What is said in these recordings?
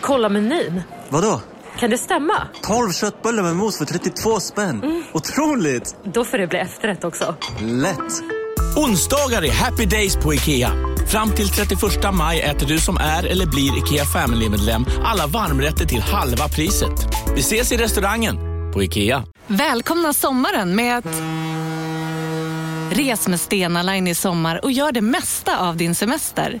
Kolla menyn. Vadå? Kan det stämma? 12 köttbullar med mos för 32 spänn. Otroligt! Då får det bli efterrätt också. Lätt! Onsdagar är happy days på IKEA. Fram till 31 maj äter du som är eller blir IKEA Family-medlem alla varmrätter till halva priset. Vi ses i restaurangen på IKEA. Välkomna sommaren med att... Res med Stena Line i sommar och gör det mesta av din semester.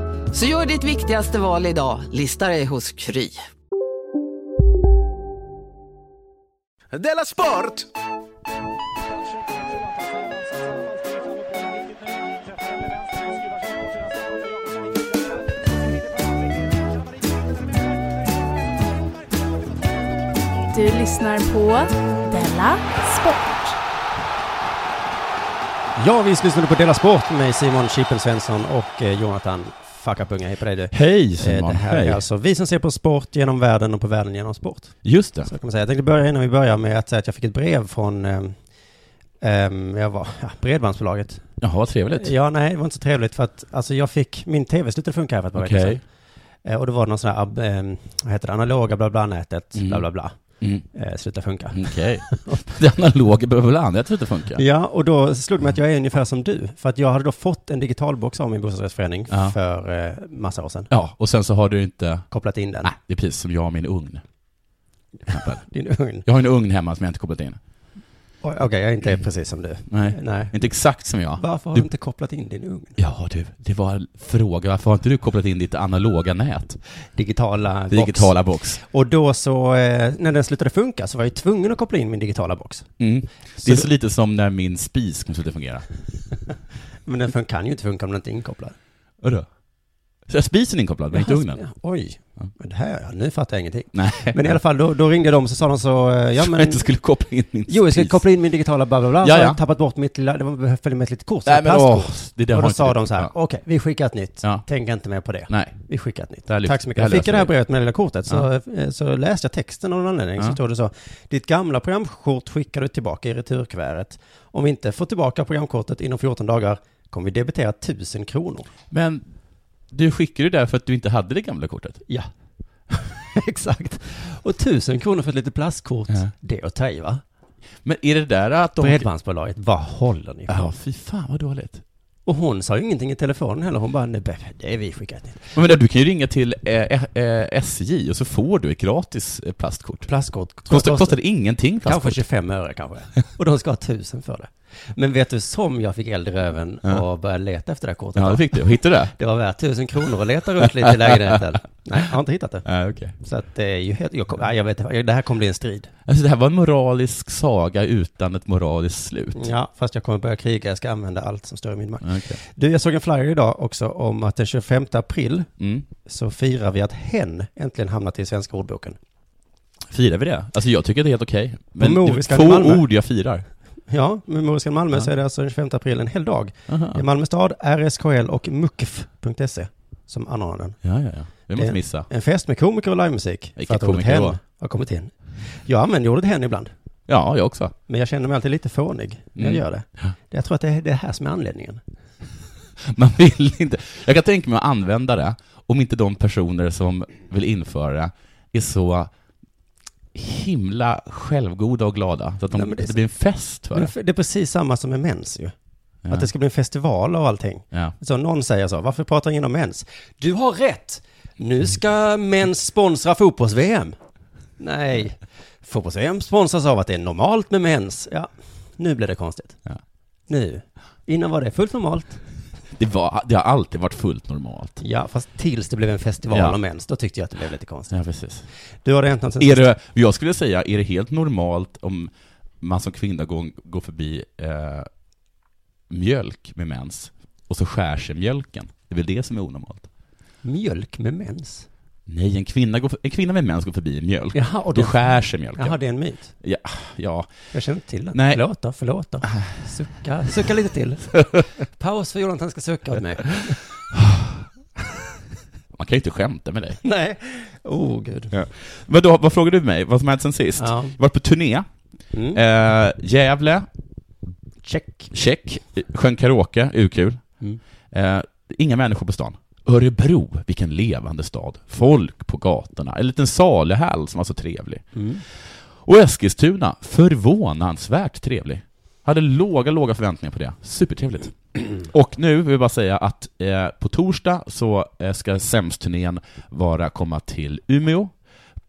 Så gör ditt viktigaste val idag, listar dig hos Kry. Della Sport! Du lyssnar på Della Sport. Ja, visst lyssnar du på Dela Sport med Simon Chippen Svensson och eh, Jonathan Fackapunga. Hej på dig du. Hej Eh, Simon, Det här hej. är alltså vi som ser på sport genom världen och på världen genom sport. Just det. Så kan man säga. Jag tänkte börja innan vi börjar med att säga att jag fick ett brev från ehm, ehm, jag var, ja, Bredbandsbolaget. Jaha, trevligt. Ja, nej, det var inte så trevligt för att alltså, jag fick, min tv slutade funka här för ett par veckor Okej. sedan. Eh, Och då var det någon sån här, ab- ehm, vad heter det, analoga bla bla nätet, Mm. bla bla bla, Mm. eh, sluta funka. Okej. Det analoga behöver väl andra att inte funka? Ja, och då slog det mig att jag är ungefär som du. För att jag hade då fått en digital box av min bostadsrättsförening Ja. för eh, massa år sedan. Ja, och sen så har du inte... Kopplat in den. Nej, det är precis som jag och min ugn. Till exempel. Din ugn. Jag har en ugn hemma som jag inte kopplat in. Oj, Okej, jag är inte precis som du. Nej. Nej. Inte exakt som jag. Varför har Du- du inte kopplat in din ugn? Ja du, det var en fråga. Varför har inte du kopplat in ditt analoga nät? Digitala box. Digitala box. Och då så, eh, när den slutade funka så var jag ju tvungen att koppla in min digitala box. Mm. Det är så lite som när min spis kommer sluta fungera. Men den fun- kan ju inte funka om den inte är inkopplad. Vadå? Så jag spisen är inkopplad, men inte Jaha, ugnen? ja, Oj, men det här, ja, nu fattar jag ingenting. Nej. Men i alla fall, då, då ringde de så sa de så, eh, ja Jag men... inte skulle koppla in min Jo, jag ska spis. koppla in min digitala bla bla bla, så Ja, har ja. jag tappat bort mitt lilla, det var följde med ett litet kort, så Nej ett men plastkort. åh, det där och har då inte sa du- de så här, Ja. okej, vi skickar ett nytt. Ja. Tänk inte mer på det. Nej. Vi skickar ett nytt. Det här lyfter- Tack så mycket. det här Jag fick löser det här vi. brevet med det lilla kortet, så, eh, så läste jag texten av någon anledning, så Ja. stod det så. Ditt gamla programkort skickar du tillbaka i returkuvertet. Om vi inte får tillbaka programkortet inom 14 dagar kommer vi debitera 1000 kronor. Men du skickade ju det där för att du inte hade det gamla kortet. Ja. Exakt. Och 1000 kronor för ett litet plastkort, Ja. det är att ta i va? Men är det där att de... Bredbandsbolaget, vad håller ni på? Ja, fy fan vad dåligt. Och hon sa ju ingenting i telefonen heller, hon bara, nej, det är vi skickat nytt. Men vänta, du kan ju ringa till eh, eh, eh, SJ och så får du ett gratis eh, plastkort. Plastkort tror jag Kostar, kostar det ingenting plastkort? Kanske 25 öre kanske. Och de ska ha 1000 för det. Men vet du, som jag fick eld i röven Ja. och började leta efter det här kortet. Ja, det fick du. Hittade du det? Det var värt 1000 kronor att leta runt lite i lägenheten. Nej, jag har inte hittat det. Ja, okej. Så att det är ju helt, jag, kom, nej, jag vet inte, det här kommer bli en strid. Alltså det här var en moralisk saga utan ett moraliskt slut. Ja, fast jag kommer börja kriga, jag ska använda allt som står i min makt. Okej. Du, jag såg en flyer idag också om att den 25 april Mm. så firar vi att hen äntligen hamnat i Svenska ordboken. Firar vi det? Alltså jag tycker det är helt okej. Men det Moriskan är i få Malmö. ord jag firar. Ja, med Moriskan Malmö Ja. så är det alltså den 25 april en hel dag. Det är Aha. Malmö stad, RSKL och mukf.se E som anordnar den. Ja, ja, ja. Det måste Det- missa. En fest med komiker och livemusik. Vilka för att ordet komiker hen då? har kommit in. Jag använder ordet hen ibland. Ja, jag också. Men jag känner mig alltid lite fånig när jag Mm. gör det. Jag tror att det är det här som är anledningen. Man vill inte. Jag kan tänka mig att använda det om inte de personer som vill införa det är så himla självgoda och glada. Så att de, Nej, men det är det, blir en fest för Men det. det är precis samma som med mens ju. Ja. Att det ska bli en festival av allting. ja. Så någon säger så, varför pratar ingen om mens? Du har rätt! Nu ska mens sponsra fotbolls-VM. Nej, fotbolls-VM sponsras av att det är normalt med mens. Ja, nu blir det konstigt. Ja. Nu. Innan var det fullt normalt. det, var, det har alltid varit fullt normalt. Ja, fast tills det blev en festival Ja. om ens, då tyckte jag att det blev lite konstigt. Ja, precis. Du har det hänt något sen Är det, jag skulle säga, är det helt normalt om man som kvinna går, går förbi eh, mjölk med mens och så skär sig mjölken? Det är väl det som är onormalt? Mjölk med mens? Nej, en kvinna, går, en kvinna med mens går förbi en mjölk. Jaha, och då då- skär sig mjölken. Jaha, det är en myt. ja, ja. Jag känner inte till den. Nej. Förlåt då, förlåt då. Sucka, sucka lite till. Paus för Jonathan ska sucka åt mig. Man kan ju inte skämta med dig. Nej. Oh, gud. Vad, då, vad frågade du mig? Vad som hänt sen sist? Ja. Jag var på turné. Mm. Eh, Gävle, Check. check. Sjöng karaoke, urkul. Mm. Eh, inga människor på stan. Örebro, vilken levande stad. Folk på gatorna. En liten saluhall som var så trevlig. Och Eskilstuna, förvånansvärt trevlig. Hade låga, låga förväntningar på det. Supertrevligt. Och nu vill jag bara säga att eh, på torsdag så eh, ska SEMS-turnén vara komma till Umeå,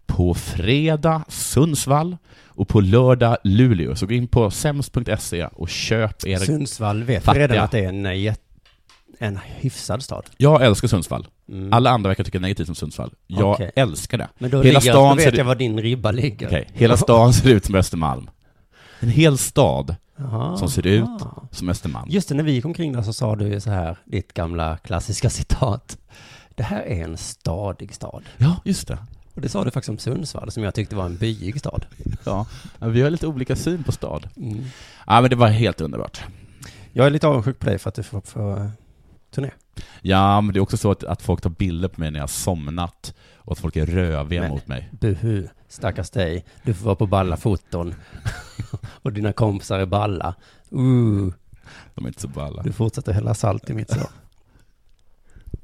på fredag Sundsvall och på lördag Luleå. Så gå in på sems.se E och köp era... Sundsvall vet Fattiga. redan att det är en, jät- en hyfsad stad. Jag älskar Sundsvall. Mm. Alla andra verkar tycka negativt om Sundsvall. Jag Okej. älskar det. Men då, Hela stan ligger, stan ser vet ut- jag var din ribba ligger. Okej, Hela stan ser ut som Östermalm. En hel stad som Ah. ser ut som Östermalm. Just det, när vi gick omkring där så sa du ju så här, ditt gamla klassiska citat. Det här är en stadig stad. Ja, just det. Och det sa du faktiskt om Sundsvall, som jag tyckte var en byig stad. Ja, vi har lite olika syn på stad. Mm. Ja, men det var helt underbart. Jag är lite avundsjuk på dig för att du får, får eh, turné. Ja, men det är också så att, att folk tar bilder på mig när jag har somnat och att folk är röviga Men- mot mig. Buhu, stackars dig. Du får vara på balla foton. och dina kompisar är balla. Uh, De är inte så balla. du fortsätter hälla salt i mitt sår.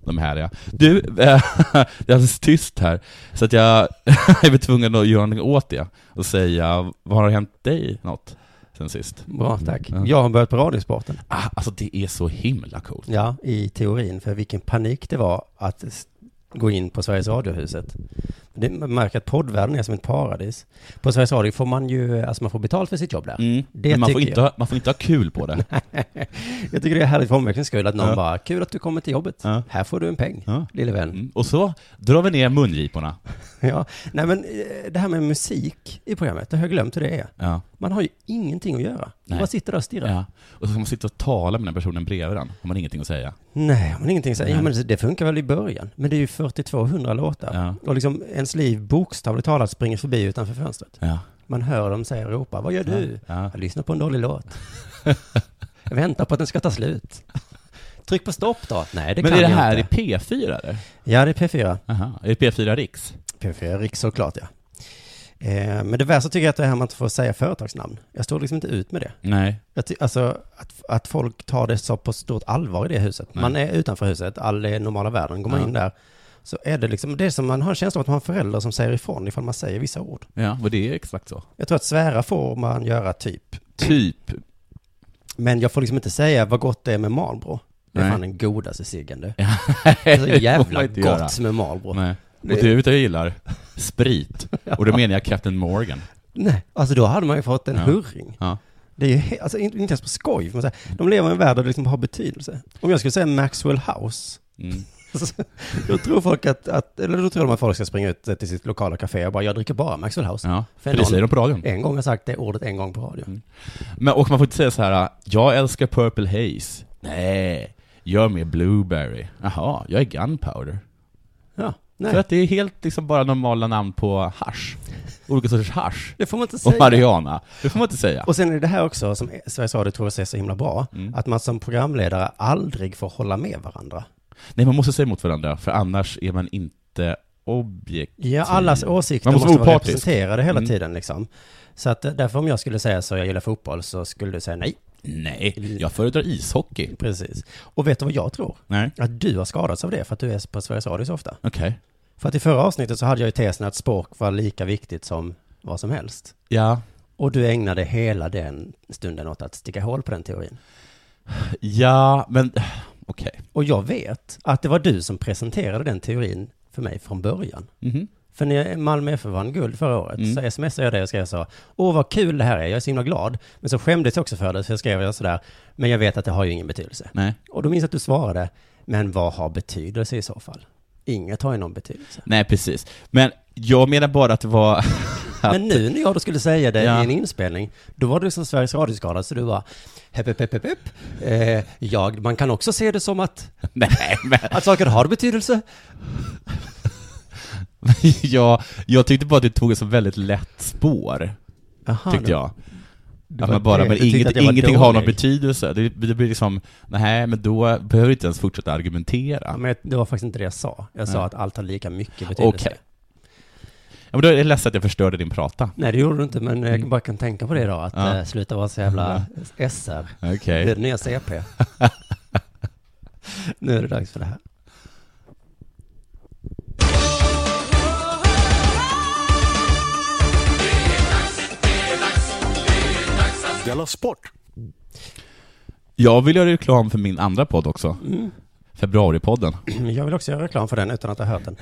De här ja. Du, eh, det är alldeles tyst här, så att jag, jag blir tvungen att göra någonting åt det och säga, vad har hänt dig något sen sist? Bra, tack. Ja. Jag har börjat på Radiosporten. Ah, alltså det är så himla coolt. Ja, i teorin. För vilken panik det var att s- gå in på Sveriges Radiohuset. Det man märker att poddvärlden är som ett paradis. På Sveriges Radio får man ju, alltså man får betalt för sitt jobb där. Mm. Det Men man får, tycker inte, jag. ha- man får inte ha kul på det. Jag tycker det är härligt för omväxlings skull att någon Ja. bara, kul att du kommer till jobbet. Ja. Här får du en peng, Ja. lille vän. Mm. Och så drar vi ner mungiporna. Ja. Nej men eh, det här med musik i programmet, det har jag glömt hur det är. Ja. Man har ju ingenting att göra. Nej. Man bara sitter där och stirrar. Ja. Och så ska man sitta och tala med den personen bredvid den. Har man ingenting att säga. Nej, men ingenting så. Jo, Nej. men det- det funkar väl i början. Men det är ju 4200 låtar. Ja. Och liksom ens liv bokstavligt talat springer förbi utanför fönstret. Ja. Man hör dem säga och ropa, vad gör du? Ja. Jag lyssnar på en dålig låt. jag väntar på att den ska ta slut. Tryck på stopp då. Nej, det Men kan är det jag här i inte. P4 eller? Ja, det är P4. Aha. Är det P4 Riks? P4 Riks såklart, ja. Eh, men det värsta tycker jag att det är här man inte får säga företagsnamn. Jag står liksom inte ut med det. Nej. Jag ty- alltså, att, att folk tar det så på stort allvar i det huset. Man är utanför huset, all är normala världen. Går man Ja. in där så är det liksom, det är som man har en känsla av att man har föräldrar som säger ifrån ifall man säger vissa ord. Ja, och det är exakt så. Jag tror att svära får man göra typ Typ. Men jag får liksom inte säga vad gott det är med Marlboro. Det är Nej. fan den godaste ciggen du. Det är så Det får man jävla inte gott göra. med Marlboro. Nej. Nej. Och du vet vad jag gillar? Sprit. Och då menar jag Captain Morgan. alltså då hade man ju fått en Ja. hurring. Ja. Det är ju he- alltså, inte inte ens på skoj. får Man säga. De lever i en värld där det liksom har betydelse. Om jag skulle säga Maxwell House, Mm. så- då tror folk att, att, eller då tror de att folk ska springa ut eh, till sitt lokala café och bara, jag dricker bara Maxwell House. ja. För För det någon- säger de Mm. på radion. En gång har jag sagt det ordet en gång på radio. Men, och man får inte säga så här, jag älskar Purple Haze. Nej. Gör mer Blueberry. Jaha, jag är Gunpowder. Ja, nej. För att det är helt liksom bara normala namn på hasch. Olika sorters hasch. det får man inte säga. Och Mariana. Det får man inte säga. Och sen är det här också som Sveriges Radio tror jag är så himla bra, Mm. att man som programledare aldrig får hålla med varandra. Nej, man måste säga emot varandra, för annars är man inte objektiv. Ja, allas åsikter Mm. Man måste måste, vara vara opartisk. representerade hela Mm. tiden liksom. Så att eh, därför om jag skulle säga så, jag gillar fotboll, så skulle du säga nej, Nej, jag föredrar ishockey. precis. Och vet du vad jag tror? Nej. Att du har skadats av det för att du är på Sveriges Radio så ofta. Okej. För att i förra avsnittet så hade jag ju tesen att språk var lika viktigt som vad som helst. Ja. Och du ägnade hela den stunden åt att sticka hål på den teorin. Ja, men okej. Och jag vet att det var du som presenterade den teorin för mig från början. Mhm. För när Malmö FF vann guld förra året Mm. så smsade jag dig och skrev så, åh vad kul det här är, jag är så himla glad. Men så skämdes jag också för det, så jag skrev jag sådär, men jag vet att det har ju ingen betydelse. Nej. Och då minns jag att du svarade, men vad har betydelse i så fall? Inget har ju någon betydelse. Nej, precis. Men jag menar bara att det var... att, Men nu när jag då skulle säga det Ja. i en inspelning, då var du som Sveriges Radioskala, så du var hepp, hepp, hepp, hepp, hepp. Eh, jag, man kan också se det som att, nej, men... att saker har betydelse. jag, jag tyckte bara att det tog ett så väldigt lätt spår, Aha, tyckte det- jag. det Att var man bara, det. men Du tyckte inget, att jag var ingenting har någon dålig. betydelse. Det, det blir liksom, nej men då behöver du inte ens fortsätta argumentera. Ja, men det var faktiskt inte det jag sa. Jag sa Nej. att allt har lika mycket betydelse. Okej. Ja, men då är jag ledsen att jag förstörde din prata. Nej, det gjorde du inte, men jag bara kan tänka på det idag. Att Mm. Ja. eh, sluta vara så jävla SR. Det Okej. är det nya CP. nu är det dags för det här. Della Sport. Jag vill göra reklam för min andra podd också. Mm. Februaripodden. Jag vill också göra reklam för den utan att ha hört den.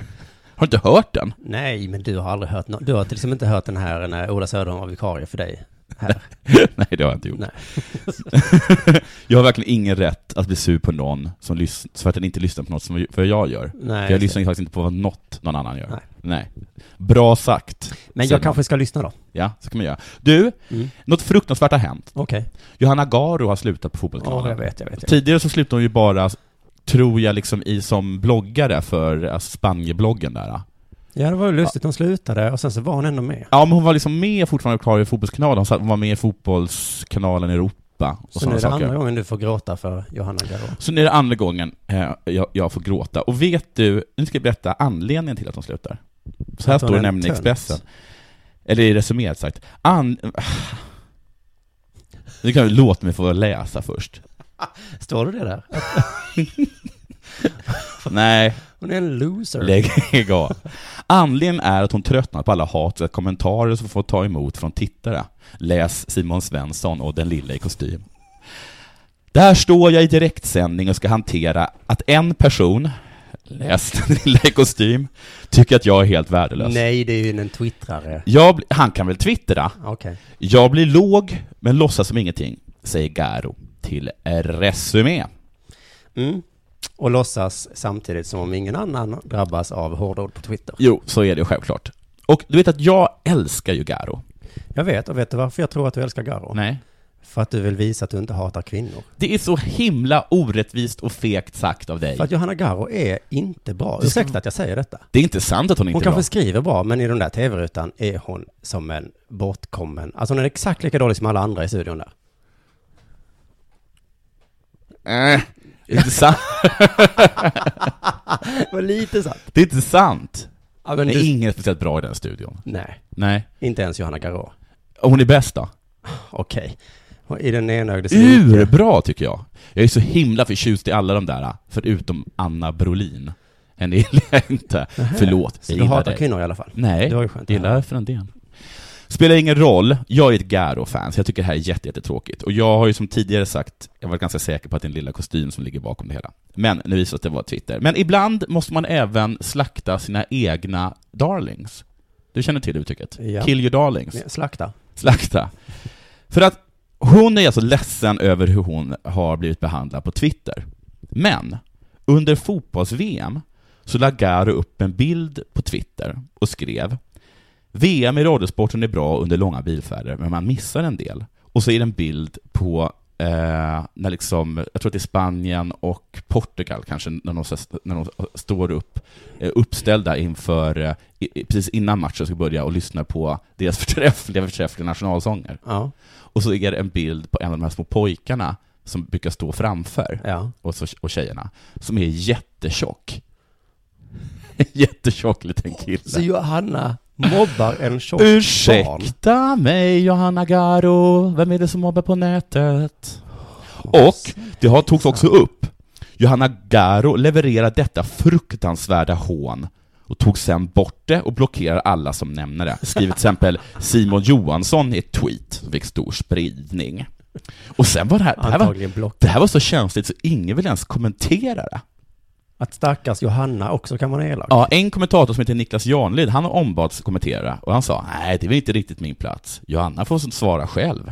Har du inte hört den? Nej, men du har aldrig hört no- Du har till exempel inte hört den här eh, när Ola Söderholm var vikarie för dig. Här. Nej, det har jag inte gjort. Nej. jag har verkligen ingen rätt att bli sur på någon som lyssn- för att den inte lyssnar på något som för jag gör. Nej, för jag just lyssnar faktiskt inte på vad något någon annan gör. Nej. Bra sagt. Men Säger man. jag kanske ska lyssna då. Mm. Ja, så kan man göra. Du, något fruktansvärt har hänt. Okej. Johanna Garo har slutat på Ja, fotbollskanalen. jag vet, jag vet. Jag. vet. Tidigare så slutade hon ju bara, tror jag, liksom i som bloggare för alltså, Spanjebloggen där. Ja, det var ju lustigt. Hon slutade och sen så var hon ändå med. Ja, men hon var liksom med fortfarande kvar i fotbollskanalen. Hon satt- Hon var med i fotbollskanalen Europa och Så nu sådana är det saker. andra gången du får gråta för Johanna Garå. Så nu är det andra gången eh, jag, jag får gråta. Och vet du, nu ska jag berätta anledningen till att de slutar. Så här Att står hon det är en nämligen i tönt. Expressen. Eller i resuméet sagt. An... Nu kan du låta mig få läsa först. Står du det där? Nej, Hon är en loser. lägg lägg av. Anledningen är att hon tröttnat på alla hatiska kommentarer som får ta emot från tittare. Läs Simon Svensson och den lilla i kostym. Där står jag i direktsändning och ska hantera att en person, läs den lilla i kostym, tycker att jag är helt värdelös. Nej, det är ju en twittrare. Jag, bli- han kan väl twittra? Okej. Jag blir låg, men låtsas som ingenting, säger Garo till Resumé. Mm. Och låtsas samtidigt som om ingen annan drabbas av hårdord på Twitter. Jo, så är det självklart. Och du vet att jag älskar ju Garo. Jag vet, och vet du varför jag tror att du älskar Garo? Nej. För att du vill visa att du inte hatar kvinnor. Det är så himla orättvist och fegt sagt av dig. För att Johanna Garo är inte bra. Du ska- Ursäkta att jag säger detta. Det är inte sant att hon Hon inte är kanske bra. skriver bra, men i den där tv-rutan är hon som en bortkommen. Alltså hon är exakt lika dålig som alla andra i studion där. Äh, det, är inte sant. Men lite sant. det är inte sant. Ja, men Det du... är ingen speciellt bra i den studion. Nej, Nej. inte ens Johanna Garo. Och hon är bäst då? Okej. Och I den enögdes rike. Urbra tycker jag. Jag är så himla förtjust i alla de där, förutom Anna Brolin. Henne gillar jag inte. Förlåt, Så jag du gillar hatar dig. kvinnor i alla fall? Nej, Det var ju skönt. det gillar jag Frändén. Spelar ingen roll, jag är ett Garo-fan, så jag tycker det här är jätte- jättetråkigt. Och jag har ju som tidigare sagt, jag var ganska säker på att det är en lilla kostym som ligger bakom det hela. Men nu visar det sig att det var Twitter. Men ibland måste man även slakta sina egna darlings. Du känner till uttrycket? Ja. Kill your darlings. Ja, Slakta. Slakta. För att hon är alltså ledsen över hur hon har blivit behandlad på Twitter. Men under fotbolls-VM så la Garo upp en bild på Twitter och skrev VM i radiosporten är bra under långa bilfärder, men man missar en del. Och så är det en bild på eh, när liksom, jag tror att det är Spanien och Portugal kanske, när de, så- när de står upp, eh, uppställda inför, eh, i, i- precis innan matchen ska börja och lyssnar på deras förträffliga, förträffliga nationalsånger. Ja. Och så är det en bild på en av de här små pojkarna som brukar stå framför Ja. och, så, och tjejerna, som är jättetjock. En jättetjock liten kille. Så Johanna mobbar en tjock barn. Ursäkta mig Johanna Garo, vem är det som mobbar på nätet? Och det har togs också upp. Johanna Garo levererar detta fruktansvärda hån och tog sen bort det och blockerar alla som nämner det. Skriver till exempel Simon Johansson i ett tweet som fick stor spridning. Och sen var det här, det här, var, Antagligen block. det här var så känsligt så ingen vill ens kommentera det. Att stackars Johanna också kan vara elak. Ja, en kommentator som heter Niklas Janlid, han har ombads kommentera och han sa nej, det är väl inte riktigt min plats. Johanna får svara själv.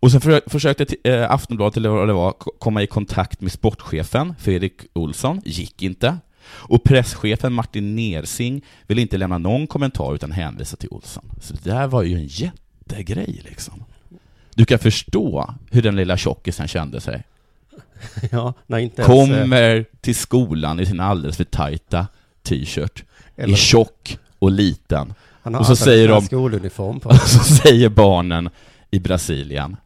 Och sen för, försökte t- eh, Aftonbladet, eller vad det var, ko- komma i kontakt med sportchefen Fredrik Olsson, gick inte. Och presschefen Martin Nersing ville inte lämna någon kommentar utan hänvisa till Olsson. Så det där var ju en jättegrej liksom. Du kan förstå hur den lilla tjockisen kände sig. Ja, när inte ens, eh, Kommer till skolan i sin alldeles för tajta t-shirt är tjock och liten. han har och så alltså säger en de- skoluniform på. Och så säger barnen i Brasilien,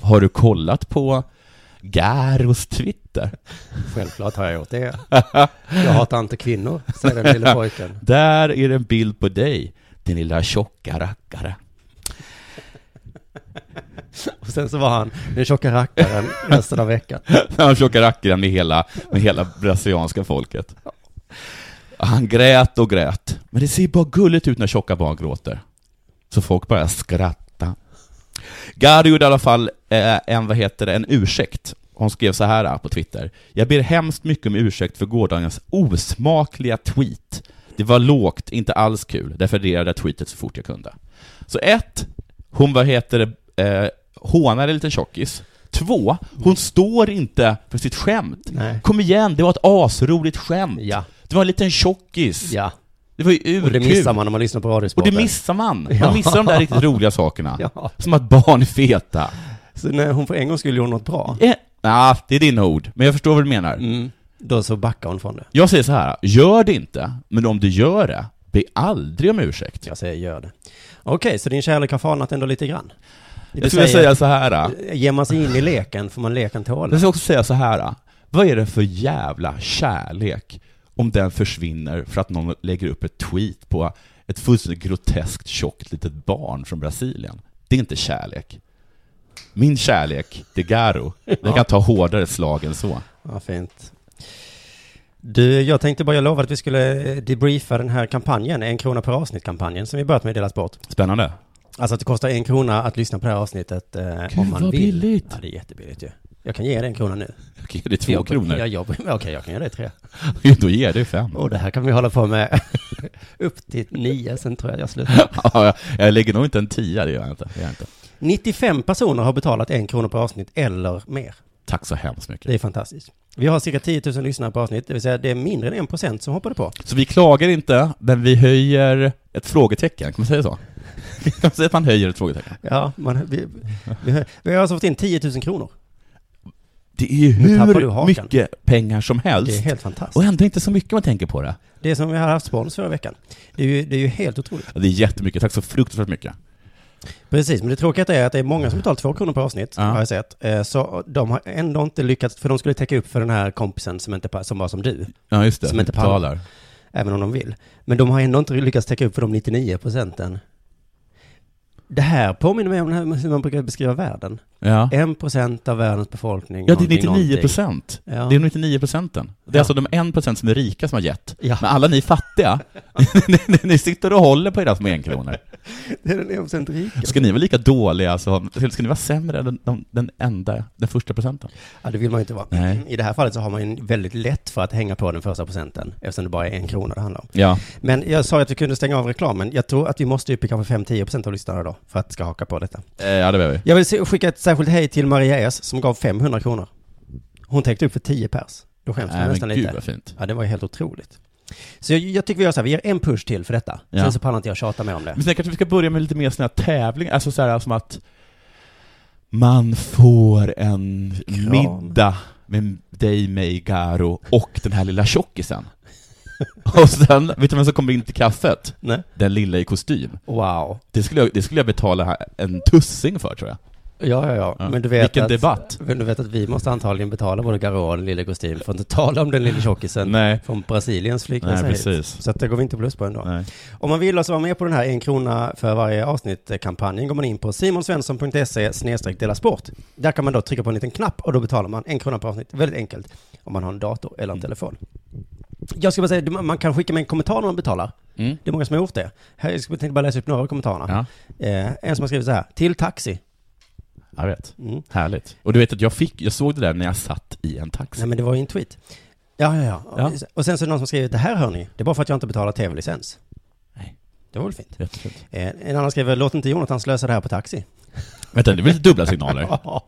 har du kollat på Garos Twitter? Självklart har jag gjort det. Jag hatar inte kvinnor, säger den lille pojken. Där är det en bild på dig, din lilla tjocka rackare. Och sen så var han den tjocka rackaren resten av veckan. Han tjocka rackaren med hela, med hela brasilianska folket. Han grät och grät. Men det ser bara gulligt ut när tjocka barn gråter. Så folk börjar skratta. Gary gjorde i alla fall eh, en, vad heter det, en ursäkt. Hon skrev så här eh, på Twitter. Jag ber hemskt mycket om ursäkt för gårdagens osmakliga tweet. Det var lågt, inte alls kul. Därför raderade jag tweetet så fort jag kunde. Så ett, hon vad heter det, eh, hånar en liten tjockis. Två, hon står inte för sitt skämt. Nej. Kom igen, det var ett asroligt skämt. Ja. Det var en liten tjockis. Ja, Det var ju och det urkul. missar man när man lyssnar på Och Radiosporten. det missar man. Ja. Man missar de där riktigt roliga sakerna. Ja. Som att barn är feta. Så när hon för en gång skulle göra något bra, Eh, nah, det är dina ord, men jag förstår vad du menar. Mm. då så backar hon från det. Jag säger så här, gör det inte, men om du gör det, be aldrig om ursäkt. Jag säger gör det. Okej, så din kärlek har falnat ändå lite grann? Du Jag skulle säga så här, Ger man sig in i leken får man leken tåla. jag ska också säga så här, äh, vad är det för jävla kärlek om den försvinner för att någon lägger upp ett tweet på ett fullständigt groteskt tjockt litet barn från Brasilien? Det är inte kärlek. Min kärlek, det är Garo. Jag kan ta hårdare slag än så. Ja, fint. Du, jag tänkte bara, jag lovade att vi skulle eh, debriefa den här kampanjen, en krona per avsnitt-kampanjen som vi börjat med i Delas Bort. Spännande. Alltså att det kostar en krona att lyssna på det här avsnittet eh, Gud, om man vad vill. billigt. Ja, det är jättebilligt ju. Jag kan ge dig en krona nu. Okej, det är två jag, kronor. Jag, jag, okej, jag kan ge dig tre. Då ger det fem. Och det här kan vi hålla på med upp till nio, sen tror jag jag slutar. Ja, jag- jag lägger nog inte en tia, det gör jag inte. Det gör jag inte. 95 personer har betalat en krona per avsnitt eller mer. Tack så hemskt mycket. Det är fantastiskt. Vi har cirka 10 000 lyssnare per avsnitt, det vill säga det är mindre än en procent som hoppade på. Så vi klagar inte, men vi höjer ett frågetecken. Kan man säga så? Kan man säga att man höjer ett frågetecken? Ja, man, vi, vi, vi har alltså fått in 10 000 kronor. Det är ju Nu tappar du hur hakan. mycket pengar som Det är helst. helt Och fantastiskt. ändå inte så mycket om man tänker på det. Det är som vi har haft spons förra veckan. Det är ju, det är ju helt otroligt. Ja, Det är jättemycket. Tack så fruktansvärt mycket. Precis, men det tråkiga är att det är många som betalar två kronor per avsnitt, Ja. har jag sett. Eh, Så de har ändå inte lyckats, för de skulle täcka upp för den här kompisen som, inte, pa- som var som du, Ja, just det. Som inte pallar. även om de vill. Men de har ändå inte lyckats täcka upp för de 99 procenten. Det här påminner mig om det här, hur man brukar beskriva världen. Ja. En procent av världens befolkning. ja, det är Eh, någonting, 99 någonting. procent. Ja. Det är de 99 procenten. Det är alltså de 1 procent som är rika som har gett. Ja. Men alla ni fattiga, ni, ni sitter och håller på era små enkronor. Det är den en procent rika. Ska ni vara lika dåliga som, eller ska ni vara sämre än den, den, den enda, den första procenten? Ja, det vill man ju inte vara. Nej. I det här fallet så har man ju väldigt lätt för att hänga på den första procenten, eftersom det bara är en krona det handlar om. Ja. Men jag sa ju att vi kunde stänga av reklamen. Jag tror att vi måste upp i kanske 5-10 procent av lyssnarna då, för att det ska haka på detta. Eh, ja, det behöver vi. Jag vill se- skicka ett särskilt hej till Maria S som gav 500 kronor. Hon täckte upp för 10 pers. Då skäms man Nej, nästan men gud lite. vad fint. Ja, det var ju helt otroligt. Så jag, jag tycker vi gör så här, vi ger en push till för detta. Ja. Sen så pallar inte jag tjata mer om det. Men sen kanske vi ska börja med lite mer sådana här tävlingar, alltså så här som att man får en Kram. middag med dig, mig, Garo och den här lilla tjockisen. Och sen, vet du vem som kommer in till kaffet? Nej. Den lilla i kostym. Wow. Det skulle jag, det skulle jag betala här en tussing för tror jag. Ja, ja, ja. Ja. Men du vet Vilken att, debatt. Men du vet att vi måste antagligen betala både Garo och den lille kostym, för att inte tala om den lille tjockisen Nej. från Brasiliens Nej, flygplats hit. precis. Så att det går vi inte plus på ändå. Nej. Om man vill alltså vara med på den här en krona för varje avsnitt-kampanjen går man in på simonsvensson.se snedstreck dela sport. Där kan man då trycka på en liten knapp och då betalar man en krona per avsnitt. Väldigt enkelt om man har en dator eller Mm. en telefon. Jag ska bara säga, man kan skicka med en kommentar när man betalar. Mm. Det är många som har gjort det. Här, jag tänkte bara läsa upp några av kommentarerna. Ja. Eh, en som har skrivit så här, till taxi. Jag vet. Mm. Härligt. Och du vet att jag fick, jag såg det där när jag satt i en taxi. Nej men det var ju en tweet. Ja, ja, ja. Ja. Och sen så är det någon som har skrivit, det här hör ni, det är bara för att jag inte betalar tv-licens. Nej. Det var väl fint. Jättefint. Eh, en annan skriver, låt inte Jonathan slösa det här på taxi. Vänta, det blir lite dubbla signaler. Ja.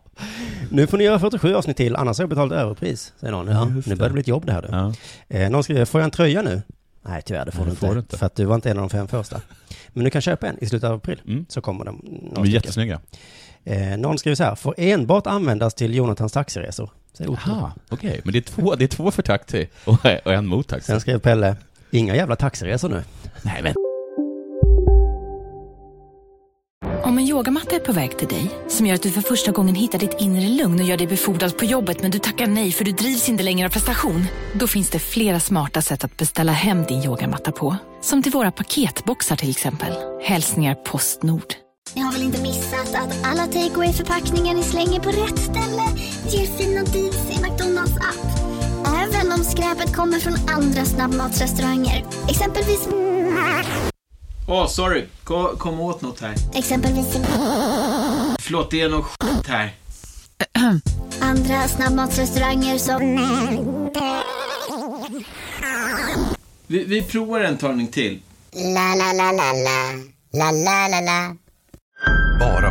Nu får ni göra 47 avsnitt till, annars har jag betalat överpris, säger någon. Ja, nu börjar det bli ett jobb det här du. Ja. Eh, någon skriver, får jag en tröja nu? Nej, tyvärr, det får, Nej, du, det får inte, du inte. För att du var inte en av de fem första. Men du kan köpa en i slutet av april, Mm. så kommer de. några De är stycken. jättesnygga. Eh, någon skriver så här, får enbart användas till Jonathans taxiresor. Säger Otto. Aha, okej. Men det är två, det är två för taxi och, och en mot taxi. Sen skrev Pelle, Inga jävla taxiresor nu. Nej, men Om en yogamatta är på väg till dig, som gör att du för första gången hittar ditt inre lugn och gör dig befordrad på jobbet men du tackar nej för du drivs inte längre av prestation. Då finns det flera smarta sätt att beställa hem din yogamatta på. Som till våra paketboxar till exempel. Hälsningar Postnord. Ni har väl inte missat att alla takeaway förpackningar ni slänger på rätt ställe ger fina deals i McDonalds app. Även om skräpet kommer från andra snabbmatsrestauranger. Exempelvis... Åh, sorry. Kom, kom åt något här. Exempelvis... Förlåt, det är något skit här. Andra snabbmatsrestauranger som... Vi, vi provar en talning till. La, la, la, la, la. La, la, la, la. Bara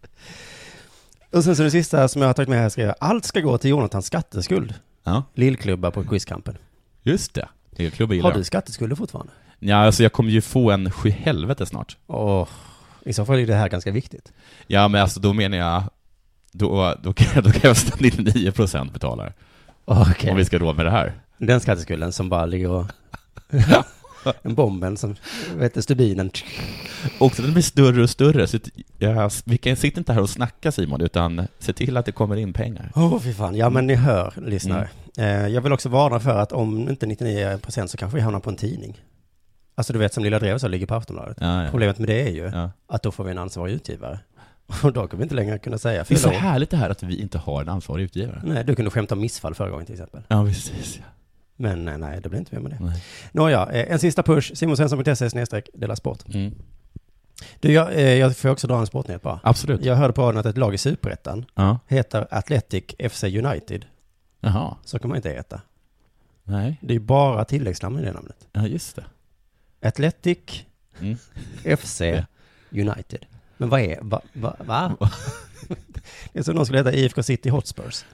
Och sen så det sista som jag har tagit med här ska jag, allt ska gå till Jonathans skatteskuld. Ja, Lillklubba på quizkampen. just det. Det är klubben Har gillar du jag. skatteskulder fortfarande? Ja, alltså jag kommer ju få en sjuhelvete snart. Åh, i så fall är det här ganska viktigt. Ja, men alltså då menar jag, då, då, kan, jag- då kan jag nästan 99% betala det. Okej. Om vi ska råd med det här. Den skatteskulden som bara ligger och... en bomben som, vad heter stubinen? Och så den blir större och större, så att jag, vi kan, sitter inte här och snacka Simon, utan se till att det kommer in pengar. Åh, fy fan. Ja, men ni hör, lyssnare. Eh, jag vill också varna för att om inte 99% så kanske vi hamnar på en tidning. Alltså du vet som Lilla Drevet så ligger på Aftonbladet. Ja, ja. Problemet med det är ju Ja. att då får vi en ansvarig utgivare. Och då kommer vi inte längre kunna säga Det är så fylla år. härligt det här att vi inte har en ansvarig utgivare. Nej, du kunde skämta om missfall förra gången till exempel. Ja, precis. Men nej, nej, det blir inte mer med det. Nej. Nåja, eh, en sista push. Simonsvensson.se snedstreck dela sport. Mm. Du, jag, eh, jag får också dra en sportnyhet bara. Absolut. Jag hörde på radion att ett lag i Superettan Ja. heter Athletic FC United. Jaha. Så kan man inte heta. Nej. Det är bara tilläggsnamn i det namnet. Ja, just det. Athletic Mm. FC United. Men vad är, va, va, va? Va? Det är som om någon skulle heta IFK City Hotspurs.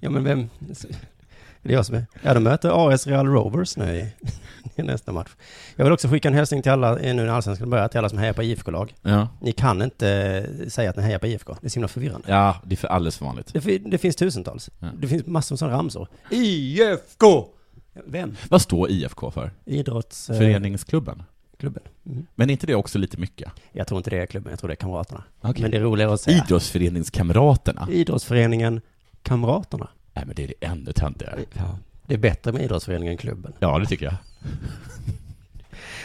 Ja men vem, det är jag som är, ja de möter AS Real Rovers nu i, i nästa match. Jag vill också skicka en hälsning till alla, eh, nu när allsvenskan börjar, till alla som hejar på IFK-lag. Ja. Ni kan inte eh, säga att ni hejar på IFK, det är så himla förvirrande. ja, det är för alldeles för vanligt. Det, fi- det finns tusentals. Ja. Det finns massor av sådana ramsor. IFK! Vem? eh, Vad står IFK för? Eh, Idrottsklubben. Föreningsklubben? Men är inte det också lite mycket? Jag tror inte det är klubben, jag tror det är kamraterna. Okej. Men det är roligare att säga. Idrottsföreningskamraterna? Idrottsföreningen Kamraterna. Nej, men det är det ännu töntigare. Det är bättre med idrottsföreningen klubben. Ja, det tycker jag.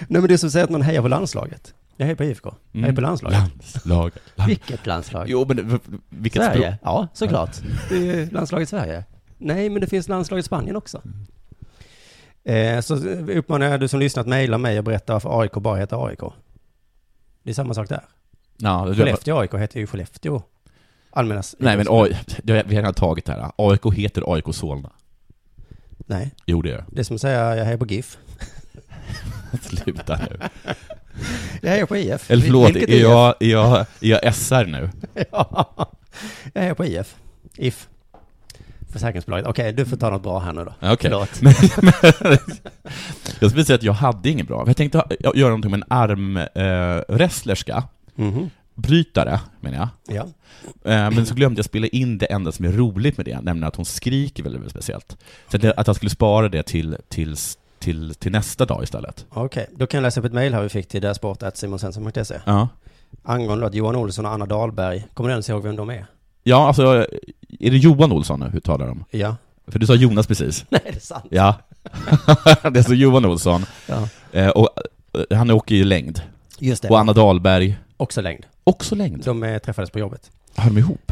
Nej men det är som att säga att man hejar på landslaget. Mm. Jag hejar på IFK. Jag hejar på landslaget. Landslag. Land... Vilket landslag? Jo, men v- vilket Sverige? språk? Ja, såklart. Det är landslaget Sverige. Nej, men det finns landslaget Spanien också. Eh, så uppmanar jag du som lyssnat, mejla mig och berätta varför AIK bara heter AIK. Det är samma sak där. Ja, det- Skellefteå AIK heter ju Skellefteå. Allmänna... Nej, men AI... det har- vi har redan tagit det här. AIK heter AIK Solna. Nej, Jo, det gör det är som att säga jag hejar på GIF. det. Sluta nu. E Jag hejar på IF. Eller förlåt, Vilket är jag, är, jag, är jag SR nu? Ja, jag är på IF. IF. Försäkringsbolaget. Okej, du får ta något bra här nu då. Ja, Okej. Förlåt. Men, men, jag skulle säga att jag hade inget bra. Jag tänkte ha, jag göra någonting med en armwrestlerska, eh, wrestlerska. Mhm. brytare, menar jag. Ja. Eh, Men så glömde jag spela in det enda som är roligt med det, nämligen att hon skriker väldigt, väldigt speciellt. Så att, jag- att jag skulle spara det till, till, till, till nästa dag istället. Okej, då kan jag läsa upp ett mejl här vi fick till därsport.simonsvensson.se Ja, angående att Johan Olsson och Anna Dahlberg, kommer du ens ihåg vem de är? ja alltså, är det Johan Olsson nu hur talar om? Ja. För du sa Jonas precis. Nej, det är sant. Ja. det är så Johan Olsson. Ja. Eh, Och eh, han åker ju längd. Just det. Och Anna Mm. Dahlberg, Också längd. också längd. De eh, träffades på jobbet. Hör de ihop?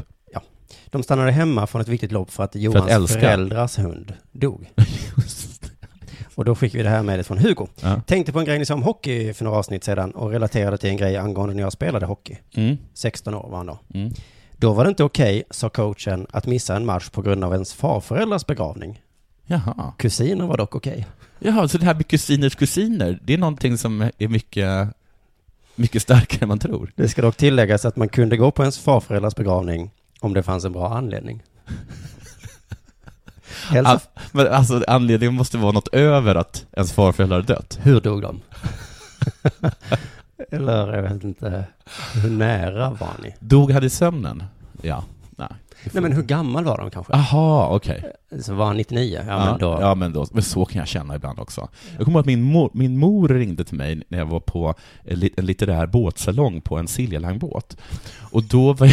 De stannade hemma från ett viktigt lopp för att Johans älska. föräldrars hund dog. Och då skickade vi det här mejlet från Hugo. Ja. Tänkte på en grej ni sa om hockey för några avsnitt sedan och relaterade till en grej angående när jag spelade hockey. Mm. 16 år var han då. Mm. Då var det inte okej, sa coachen, att missa en match på grund av ens farföräldrars begravning. Jaha. Kusiner var dock okej. Jaha, så det här med kusiners kusiner, det är någonting som är mycket mycket starkare än man tror. Det ska dock tilläggas att man kunde gå på ens farföräldrars begravning om det fanns en bra anledning. Hälsa. Ah, Men alltså anledningen måste vara något över att ens farföräldrar har dött. Hur dog de? Eller jag vet inte, hur nära var ni? Dog han i sömnen? Ja. Nej. Nej men hur gammal var de kanske? Aha, okej. Så var han 99? Ja, men då. Ah. ja men då, men så kan jag känna ibland också. Jag kommer ihåg att min mor, min mor ringde till mig när jag var på en lit- en litterär båtsalong på en Siljalangbåt. Och då var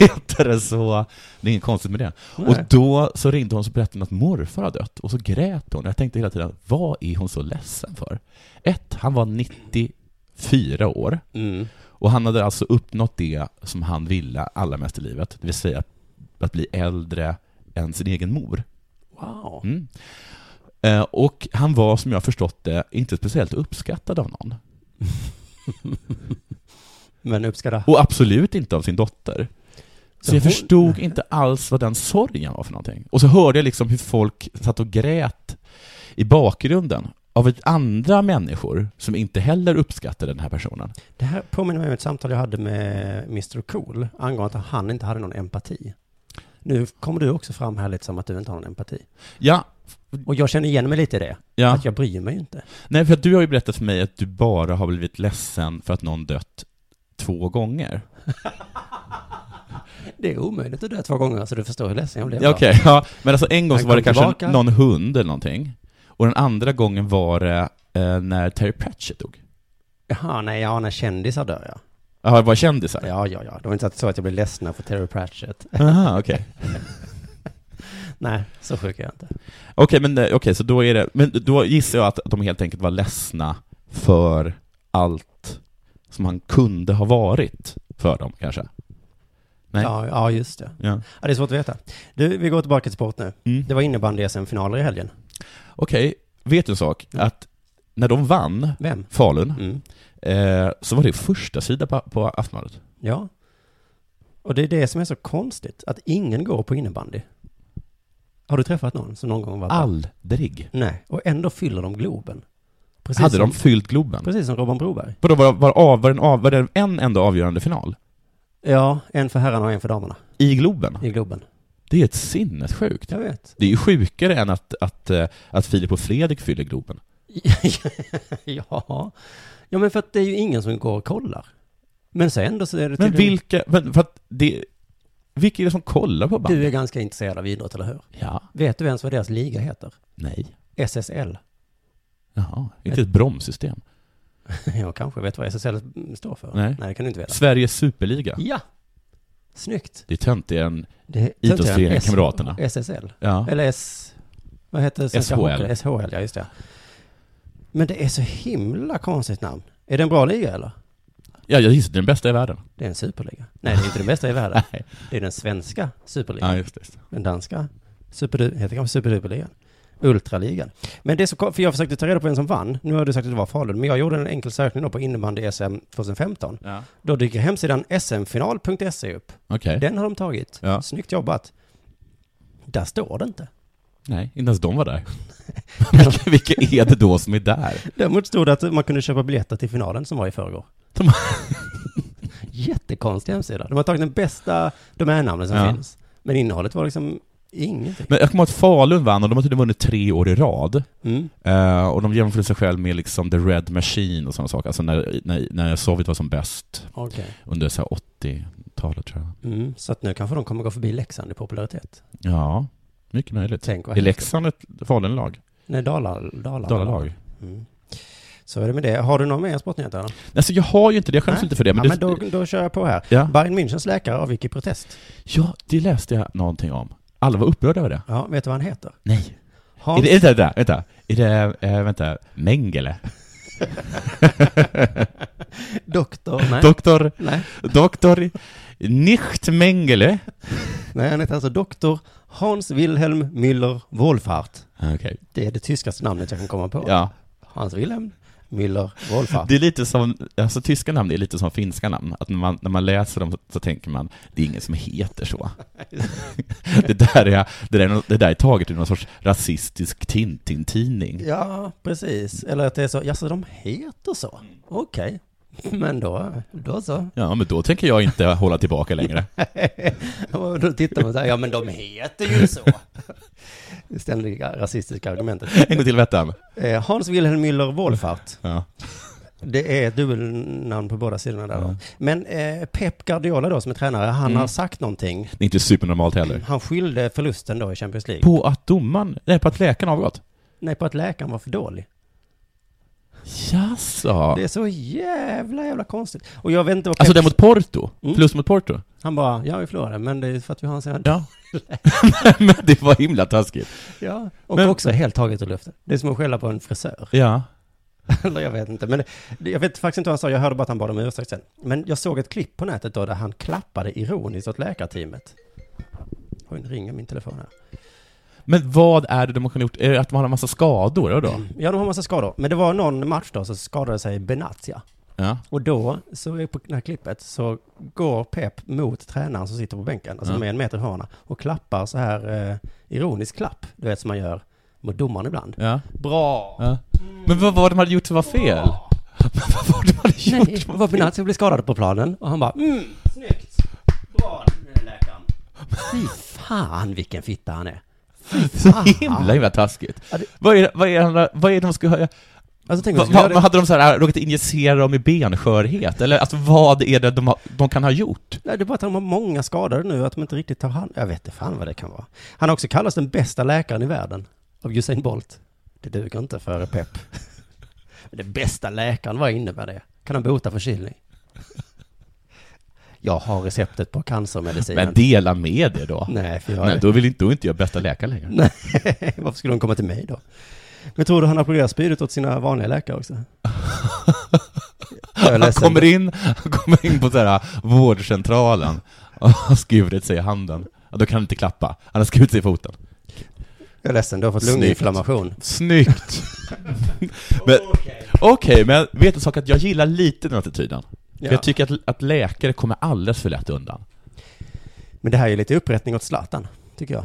jag det så, det är inget konstigt med det. Nej. Och då så ringde hon och så berättade hon att morfar har dött. Och så grät hon. Jag tänkte hela tiden, vad är hon så ledsen för? Ett, han var 94 år. Mm. Och han hade alltså uppnått det som han ville allra mest i livet, det vill säga att bli äldre än sin egen mor. Wow. Mm. Eh, Och han var, som jag har förstått det, inte speciellt uppskattad av någon. Men uppskatta. Och absolut inte av sin dotter. Så Så jag hon- förstod inte alls vad den sorgen var för någonting. Och så hörde jag liksom hur folk satt och grät i bakgrunden av ett andra människor som inte heller uppskattade den här personen. Det här påminner mig om ett samtal jag hade med Mr Cool angående att han inte hade någon empati. Nu kommer du också fram här lite som att du inte har någon empati. Ja, Och jag känner igen mig lite i det. Ja. Att jag bryr mig ju inte. Nej, för att du har ju berättat för mig att du bara har blivit ledsen för att någon dött två gånger. Det är omöjligt att dö två gånger så du förstår hur ledsen jag blev. Ja, Okej, ja. Men alltså en gång Han så var det kom kanske tillbaka. någon hund eller någonting. Och den andra gången var det eh, när Terry Pratchett dog. Jaha, nej, ja, när kändisar dör ja. Ja, det var kändisar. Ja, ja, ja. Det var inte så att jag blev ledsen för Terry Pratchett. Aha, okej. nej, så sjuk är jag inte. Okej, men eh, okej, så då är det, men då gissar jag att de helt enkelt var ledsna för allt som han kunde ha varit för dem kanske. Nej? Ja, ja, just det. Ja. Ja, det är svårt att veta. Du, vi går tillbaka till sport nu. Det var innebandy-SM-finaler i helgen. Mm. Okej, vet du en sak? Att när de vann Vem? Mm. Falun, eh, så var det första sida på, på Aftonbladet. Ja. Och det är det som är så konstigt, att ingen går på innebandy. Har du träffat någon som någon gång var på? Aldrig. Nej, och ändå fyller de Globen. Precis Hade som, de fyllt Globen? Precis som Robban Broberg. Vadå, var, var, av, var, den av, var det en enda avgörande final? Ja, en för herrarna och en för damerna. I Globen? I Globen. Det är ett sinnessjukt. Jag vet. Det är ju sjukare än att, att, eh, att Filip och Fredrik fyller Globen. ja. Ja, men för att det är ju ingen som går och kollar. Men så ändå så är det Men tydligen- vilka, men för att det, vilka är det som kollar på bandy? Du är ganska intresserad av idrott, eller hur? Ja. Vet du ens vad deras liga heter? Nej. SSL. Jaha, inte ett bromssystem. Jag kanske vet vad SSL står för. Nej. Nej, det kan du inte veta. Sveriges superliga. Ja! Snyggt. Det är töntigare än Det är idrottsföreningen S- Kamraterna. SSL. Ja. Eller S... Vad heter Svenska SHL. Hockey- SHL, ja just det. Men det är så himla konstigt namn. Är det en bra liga eller? Ja, jag gissar att det är den bästa i världen. Det är en superliga. Nej, det är inte den bästa i världen. Nej. Det är den svenska superligan. Ja, just det. just det. Den danska superdu- heter kanske superduperligan. Ultraligan. Men det är så ko- för jag försökte ta reda på vem som vann. Nu har du sagt att det var Falun, men jag gjorde en enkel sökning då på innebandy-SM 2015. Ja. Då dyker hemsidan smfinal.se E upp. Okej. Den har de tagit. Ja. Snyggt jobbat. Där står det inte. Nej, inte ens de var där. vilka, vilka är det då som är där? Däremot stod det att man kunde köpa biljetter till finalen som var i förrgår. De- Jättekonstig hemsida. De har tagit den bästa domännamnen som Ja. finns. Men innehållet var liksom ingenting. Men jag kommer ihåg att Falun vann och de har tydligen vunnit tre år i rad. Mm. Eh, och de jämförde sig själv med liksom The Red Machine och sådana saker, alltså när, när, när Sovjet var som bäst Okej. under så här 80-talet tror jag. Mm. Så att nu kanske de kommer gå förbi Leksand i popularitet. Ja, mycket möjligt. Tänk vad Är hemskt. Leksand ett Falun-lag? Nej, Dalar, Dalar, Dalalag? Mm. Så är det med det. Har du någon mer sportnyhet? Anna? Alltså jag har ju inte det, jag skäms lite för det. Men, ja, men det, då, då kör jag på här. Ja. Bayern Münchens läkare avgick i protest. ja, det läste jag någonting om. Alla var upprörda över det. Ja, vet du vad han heter? Nej. Hans... Är det, vänta, vänta, vänta. Är det, eh, vänta, Mengele? Doktor? Nej. Doktor, Nej. doktor Nicht Mengele? Nej, han heter alltså doktor Hans Wilhelm Müller Wohlfahrt. Okej. Det är det tyskaste namnet jag kan komma på. Ja. Hans Wilhelm Müller Wohlfahrt. Det är lite som, alltså tyska namn är lite som finska namn, att när man, när man läser dem så, så tänker man, det är ingen som heter så. det, där är, det, där är, nå- det där är taget ur någon sorts rasistisk Tintin-tidning. Ja, precis. Eller att det är så, jaså de heter så? Okej. Men då, då så. Ja, men då tänker jag inte hålla tillbaka längre. Och då tittar man så här, ja men de heter ju så. Det Ständiga rasistiska argumentet. En gång till Vettan. Eh, Hans Wilhelm Müller Wolfart. Ja. Det är ett dubbelnamn på båda sidorna där då. Men eh, Pep Guardiola då som är tränare, han Mm. har sagt någonting. Det är inte supernormalt heller. Han skyllde förlusten då i Champions League. På att domaren, nej på att läkaren avgått. Nej, på att läkaren var för dålig. Jaså? Det är så jävla, jävla konstigt. Och jag vet inte vad Alltså Peps- den mot Porto? Mm. Förlust mot Porto? Han bara, ja vi förlorade, men det är för att vi har en sån Ja. men det var himla taskigt. ja, och Men- också helt taget ur luften. Det är som att skälla på en frisör. Ja. Eller jag vet inte, men det, jag vet faktiskt inte vad han sa, jag hörde bara att han bad om ursäkt sen. Men jag såg ett klipp på nätet då där han klappade ironiskt åt läkarteamet. Oj, nu ringer min telefon här. Men vad är det de har gjort? Är det att de har en massa skador? Eller då? Ja, de har massa skador. Men det var någon match då så skadade sig Benatia. Ja. Och då, så är på det här klippet, så går Pep mot tränaren som sitter på bänken, alltså Ja. med en meter ifrån honom, och klappar så här eh, ironisk klapp, du vet som man gör mot domaren ibland. Ja. Bra! Ja. Men vad var det de hade gjort som var fel? Nej, det var Benatia blev skadad på planen och han bara mm, snyggt! Bra läkaren! Fy fan vilken fitta han är! Så himla, himla taskigt. Vad är, vad är, det- vad är det de ska höra? Alltså, tänk om Va, de skulle va, göra det- Hade de så här, äh, råkat injicera dem i benskörhet? Eller alltså, vad är det de, har, de kan ha gjort? Nej, det är bara att de har många skadade nu, att de inte riktigt tar hand Jag vet inte fan vad det kan vara. Han har också kallats den bästa läkaren i världen av Usain Bolt. Det duger inte för Pep. Men Den bästa läkaren, vad innebär det? Kan han bota förkylning? Jag har receptet på cancermedicinen. Men dela med det då. Nej, för jag- Mm. Nej, då vill inte, då är inte jag bästa läkare längre. Nej, varför skulle de komma till mig då? Men tror du han applåderar spydigt åt sina vanliga läkare också? Jag är Han ledsen. kommer in, han kommer in på så här, äh, vårdcentralen och har skurit sig i handen. Ja, Då kan han inte klappa. Han har skurit sig i foten. Jag är ledsen, du har fått Snyggt. lunginflammation. Snyggt! Men- Okej, men vet du en sak? Att jag gillar lite den attityden. Ja. För jag tycker att, att läkare kommer alldeles för lätt undan. Men det här är ju lite upprättning åt Zlatan, tycker jag.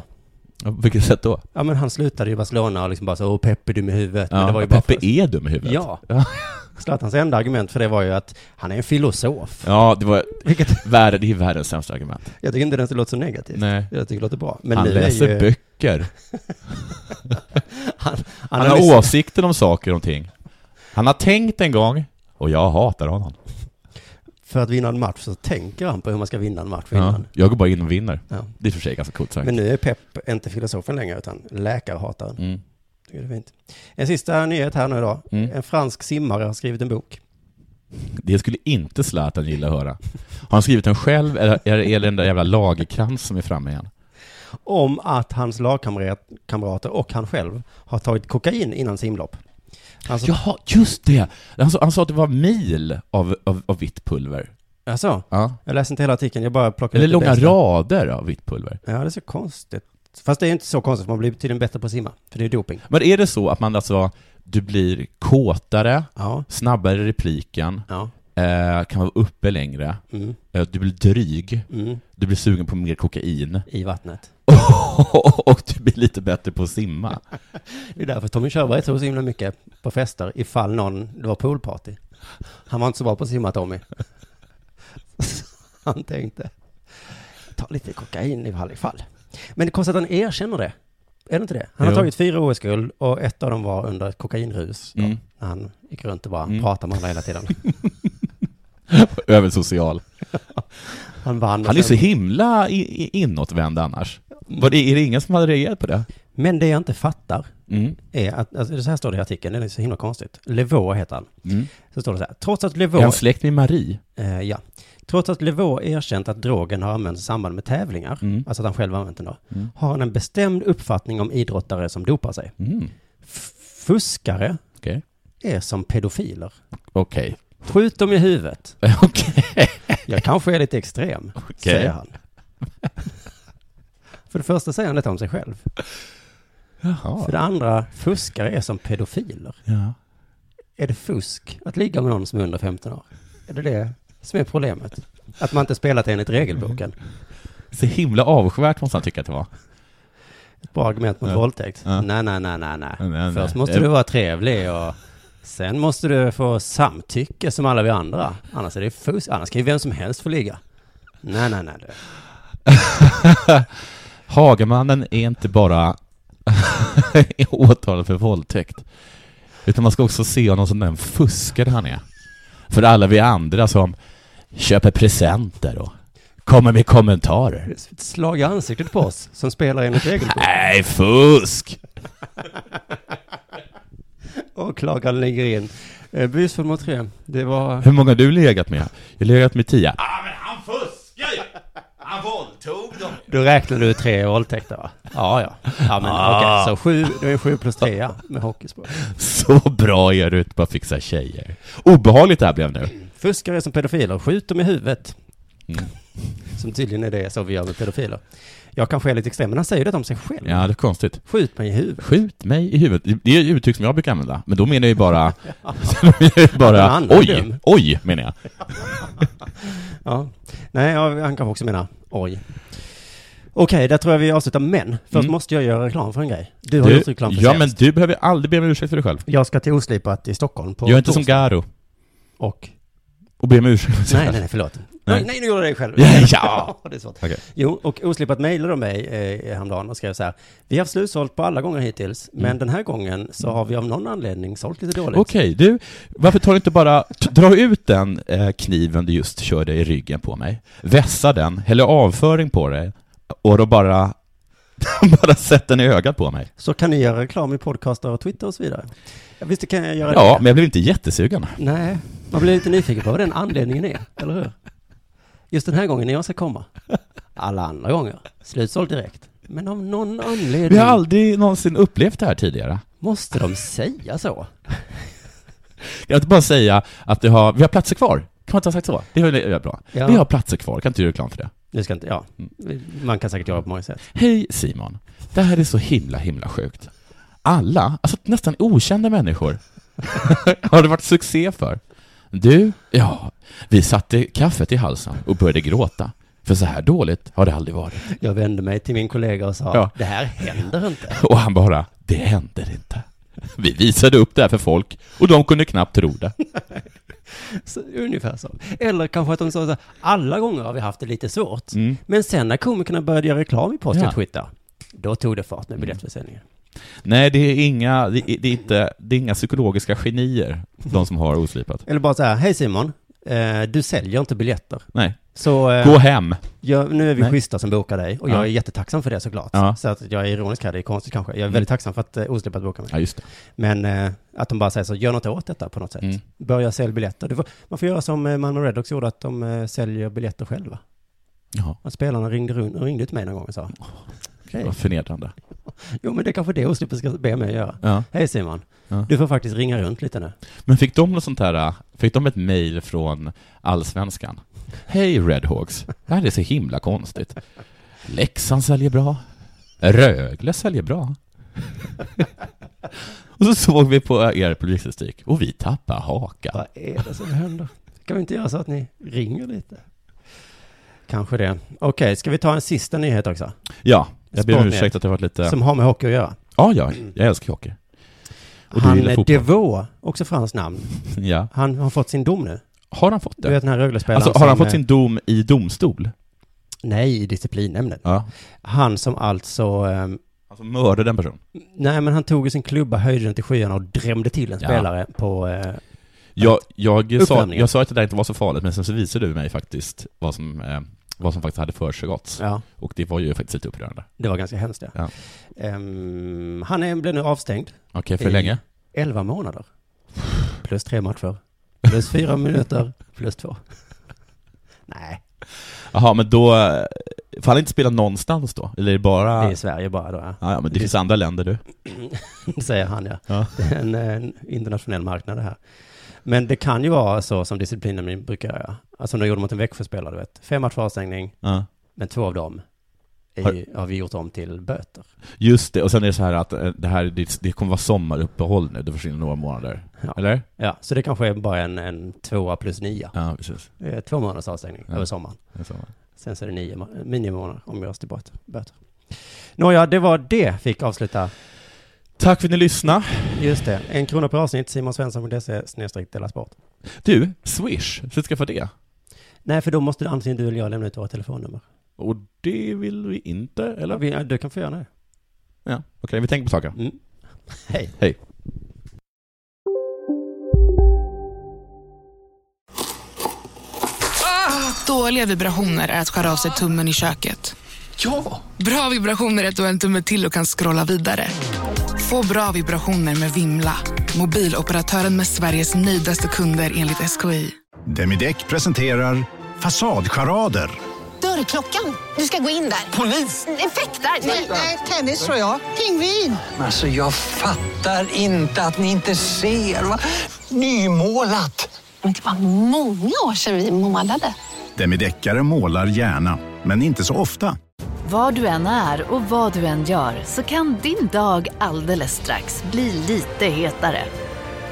Ja, På vilket sätt då? Ja men han slutade ju i Barcelona och liksom bara så, åh Peppe du med huvudet. men Ja, det var ju Peppe bara för... är dum i huvudet. Ja. Zlatans enda argument för det var ju att han är en filosof. Ja, det var... Vilket... Värre, det är världens sämsta argument. Jag tycker inte det låter så negativt. Nej. Jag tycker det låter bra. Men han nu läser är ju... böcker. han, Han, har har lyssnat- åsikter om saker och ting. Han har tänkt en gång, och jag hatar honom. För att vinna en match så tänker han på hur man ska vinna en match Ja, innan. jag går bara in och vinner. Ja. Det är i och för sig ganska coolt sagt. Men nu är Pep inte filosofen längre utan läkarhataren. Mm. Tycker det är fint. En sista nyhet här nu då. Mm. En fransk simmare har skrivit en bok. Det skulle inte Zlatan gilla att höra. Har han skrivit den själv, eller eller är det den där jävla lagerkrans som är framme igen? om att hans lagkamrater och han själv har tagit kokain innan simlopp. Alltså, Jaha, just det! Han sa, han sa att det var mil av, av, av vitt pulver. alltså Ja. jag läser inte hela artikeln, jag bara plockar Eller ut det långa bästa. rader av vitt pulver. Ja, det är så konstigt. Fast det är inte så konstigt, man blir tydligen bättre på att simma, för det är doping. Men är det så att man alltså, du blir kåtare, Ja. snabbare i repliken, Ja. eh, kan vara uppe längre, Mm. eh, du blir dryg, Mm. du blir sugen på mer kokain, I vattnet. och du blir lite bättre på att simma. Det är därför Tommy Körberg tror så himla mycket på fester, ifall någon, det var poolparty. Han var inte så bra på att simma, Tommy. Han tänkte, ta lite kokain i varje fall. Men det är konstigt att han erkänner det. Är det inte det? Han har Jo. tagit fyra OS-guld och ett av dem var under ett kokainrus. då, Mm. När han gick runt och bara Mm. pratade med alla hela tiden. Översocial. Han vann. och Han är så sen- himla i- i- inåtvänd annars. Var det, är det ingen som hade reagerat på det? Men det jag inte fattar Mm. är att, alltså, så här står det i artikeln, det är så himla konstigt. Levaux heter han. Mm. Så står det så här, trots att Är Levaux... han släkt med Marie? Eh, ja. Trots att Levaux erkänt att drogen har använts i samband med tävlingar, Mm. alltså att han själv har använt den då, Mm. har han en bestämd uppfattning om idrottare som dopar sig. Mm. F- fuskare Okej. är som pedofiler. Okej. Skjut dem i huvudet. Okej. Jag kanske är lite extrem, säger han. För det första säger han detta om sig själv. För det Jaha. andra, fuskare är som pedofiler. Ja. Är det fusk att ligga med någon som är under 15 år? Är det det som är problemet? Att man inte spelat enligt regelboken? Så himla avskyvärt måste han tycka att det var. Ett bra argument mot Ja. våldtäkt. Ja. Nej, nej, nej, nej, nej. Nej, nej, Först nej. måste Det- du vara trevlig och Sen måste du få samtycke som alla vi andra. Annars är det fusk. Annars kan ju vem som helst få ligga. Nej, nej, nej. du. Hagamannen är inte bara åtalad för våldtäkt, utan man ska också se honom som den fuskare han är. För alla vi andra som köper presenter och kommer med kommentarer. Ett slag i ansiktet på oss som spelar enligt regelboken. Nej, fusk! Åklagaren lägger in. Eh, Busfel mot tre. Det var... Hur många har du legat med? Jag har legat med tio. Ja, men han fuskar ju! Han våldtog dem. Då räknar du tre våldtäkter va? Ja, ja. Ja, men Ah. okej. Så sju, det är sju plus tre ja, med hockeyspråk. Så bra är du ute på att fixa tjejer. Obehagligt det här blev nu. Fuskare är som pedofiler, skjut dem i huvudet. Mm. Som tydligen är det så vi gör med pedofiler. Jag kanske är lite extrem, men han säger det om sig själv. Ja, det är konstigt. Skjut mig i huvudet. Skjut mig i huvudet. Det är ett uttryck som jag brukar använda, men då menar jag ju bara... då menar jag ju Den bara andra dum. oj, oj, menar jag. Ja. Nej, ja, han kanske också menar oj. Okej, där tror jag vi avslutar, men först Mm. måste jag göra reklam för en grej. Du har gjort reklam för Ja, senast. men du behöver aldrig be om ursäkt för dig själv. Jag ska till Oslipat i Stockholm på Gör inte som torsdag. Garo. Och? Och be om ursäkt. Nej, nej, nej, förlåt. Nej, nej, nu gjorde jag det själv. Ja, ja. det är svårt. Okej. Jo, och oslipat mejlade de mig eh, häromdagen och skrev så här. Vi har haft slutsålt på alla gånger hittills, men Mm. den här gången så har vi av någon anledning sålt lite dåligt. Okej, du, varför tar du inte bara, t- dra ut den eh, kniven du just körde i ryggen på mig, vässa den, häller avföring på dig, och då bara, bara sätt den i ögat på mig. Så kan ni göra reklam i podcaster och Twitter och så vidare. Ja, visst det kan jag göra Ja, det. men jag blev inte jättesugen. Nej, man blir lite nyfiken på vad den anledningen är, eller hur? Just den här gången när jag ska komma. Alla andra gånger. Slutsålt direkt. Men av någon anledning... Vi har aldrig någonsin upplevt det här tidigare. Måste de säga så? Jag vill inte bara säga att det har, vi har platser kvar. Kan man inte ha sagt så? Det är väl bra. Ja. Vi har platser kvar, kan inte du göra reklam för det? Det ska inte, ja. Mm. Man kan säkert göra på många sätt. Hej Simon. Det här är så himla, himla sjukt. Alla, alltså nästan okända människor, har det varit succé för. Du, ja, vi satte kaffet i halsen och började gråta. För så här dåligt har det aldrig varit. Jag vände mig till min kollega och sa, Ja. det här händer inte. Och han bara, det händer inte. Vi visade upp det här för folk och de kunde knappt tro det. Så, ungefär så. Eller kanske att de sa så här, alla gånger har vi haft det lite svårt. Men sen när komikerna började göra reklam i post Ja. och Twitter, då tog det fart med biljettförsäljningen. Nej, det är inga, det är, det är inte, det är inga psykologiska genier, de som har oslipat. Eller bara så här, hej Simon, eh, du säljer inte biljetter. Nej. Så, eh, Gå hem. Ja, nu är vi Nej. schyssta som bokar dig och jag Ja. är jättetacksam för det såklart. Ja. Så att jag är ironisk här, det är konstigt kanske. Jag är Mm. väldigt tacksam för att eh, oslipat bokar mig. Ja, just det. Men eh, att de bara säger så, gör något åt detta på något sätt. Mm. Börja sälja biljetter. Du får, man får göra som eh, Malmö Redhawks gjorde, att de eh, säljer biljetter själva. Jaha. Att spelarna ringde, run- ringde till mig någon gång och sa, okej, Vad förnedrande. jo men det är kanske det oslipat ska be mig göra. Ja. Hej Simon, Ja. du får faktiskt ringa runt lite nu. Men fick de något sånt här, fick de ett mejl från Allsvenskan? Hej Redhawks, det här är så himla konstigt. Leksand säljer bra. Rögle säljer bra. och så såg vi på er publikstatistik och vi tappade hakan. Vad är det som händer? Kan vi inte göra så att ni ringer lite? Kanske det. Okej, ska vi ta en sista nyhet också? Ja, jag ber om Sportnyhet. ursäkt att det varit lite... Som har med hockey att göra. Ja, ja, jag älskar hockey. Och du han gillar är fotboll. Devaux, också franskt namn. Ja. Han har fått sin dom nu. Har han fått det? Du vet den här Rögle-spelaren Alltså, har han som, eh, fått sin dom i domstol? Nej, i disciplinnämnden. Ja. Han som alltså... ehm, Alltså mördade en person? Nej, men han tog ju sin klubba, höjde den till skyarna och drämde till en Ja. spelare på... Eh, Jag, jag, sa, Uppvärmningen. jag sa att det där inte var så farligt, men sen så visade du mig faktiskt vad som, eh, vad som faktiskt hade försiggått. Ja. Och det var ju faktiskt lite upprörande. det var ganska hemskt, ja. Ja. Ehm, han är, blev nu avstängd. Okej, för i länge? Elva månader. Plus tre matcher. Plus fyra minuter. Plus två. Nej, Jaha, men då... eh, Får han inte spela någonstans då? Eller är det bara... det är Sverige bara då, ja. Ja, ja, men det finns andra länder du. säger han ja. Ja. Det är en, en internationell marknad det här. Men det kan ju vara så som disciplinen brukar göra. Alltså som de gjorde mot en Växjöspelare, du vet. Fem matchers avstängning, Ja. men två av dem är Har- ju, har vi gjort om till böter. Just det, och sen är det så här att eh, det, här, det, det kommer vara sommaruppehåll nu, det försvinner några månader. Ja. Eller? Ja, så det kanske är bara en, en tvåa plus nia. Ja, precis. Det är Två månaders avstängning Ja. över sommaren. Det är sommar. Sen så är det nio ma- minimimånader om jag till böter. Nåja, det var det fick avsluta Tack för att ni lyssnade. Just det. En krona per avsnitt, simonsvensson.se snedstreck Della Sport. Du, Swish, så ska jag få det. Nej, för då måste antingen du eller jag lämna ut våra telefonnummer. Och det vill vi inte, eller? Mm. Vi, du kan få göra det. Ja, okej, vi tänker på saker. Hej. Hej. Dåliga vibrationer är att skära av sig tummen i köket. Ja! Bra vibrationer är att du har en tumme till och kan scrolla vidare. Få bra vibrationer med Vimla. Mobiloperatören med Sveriges nöjdaste kunder enligt SKI. Demideck presenterar Fasadcharader. Dörrklockan. Du ska gå in där. Mm, Polis? Effektar? Nej, tennis tror jag. Pingvin. Alltså jag fattar inte att ni inte ser. Va? Nymålat! Men det var många år sedan vi målade. Demideckare målar gärna, men inte så ofta. Var du än är och vad du än gör så kan din dag alldeles strax bli lite hetare.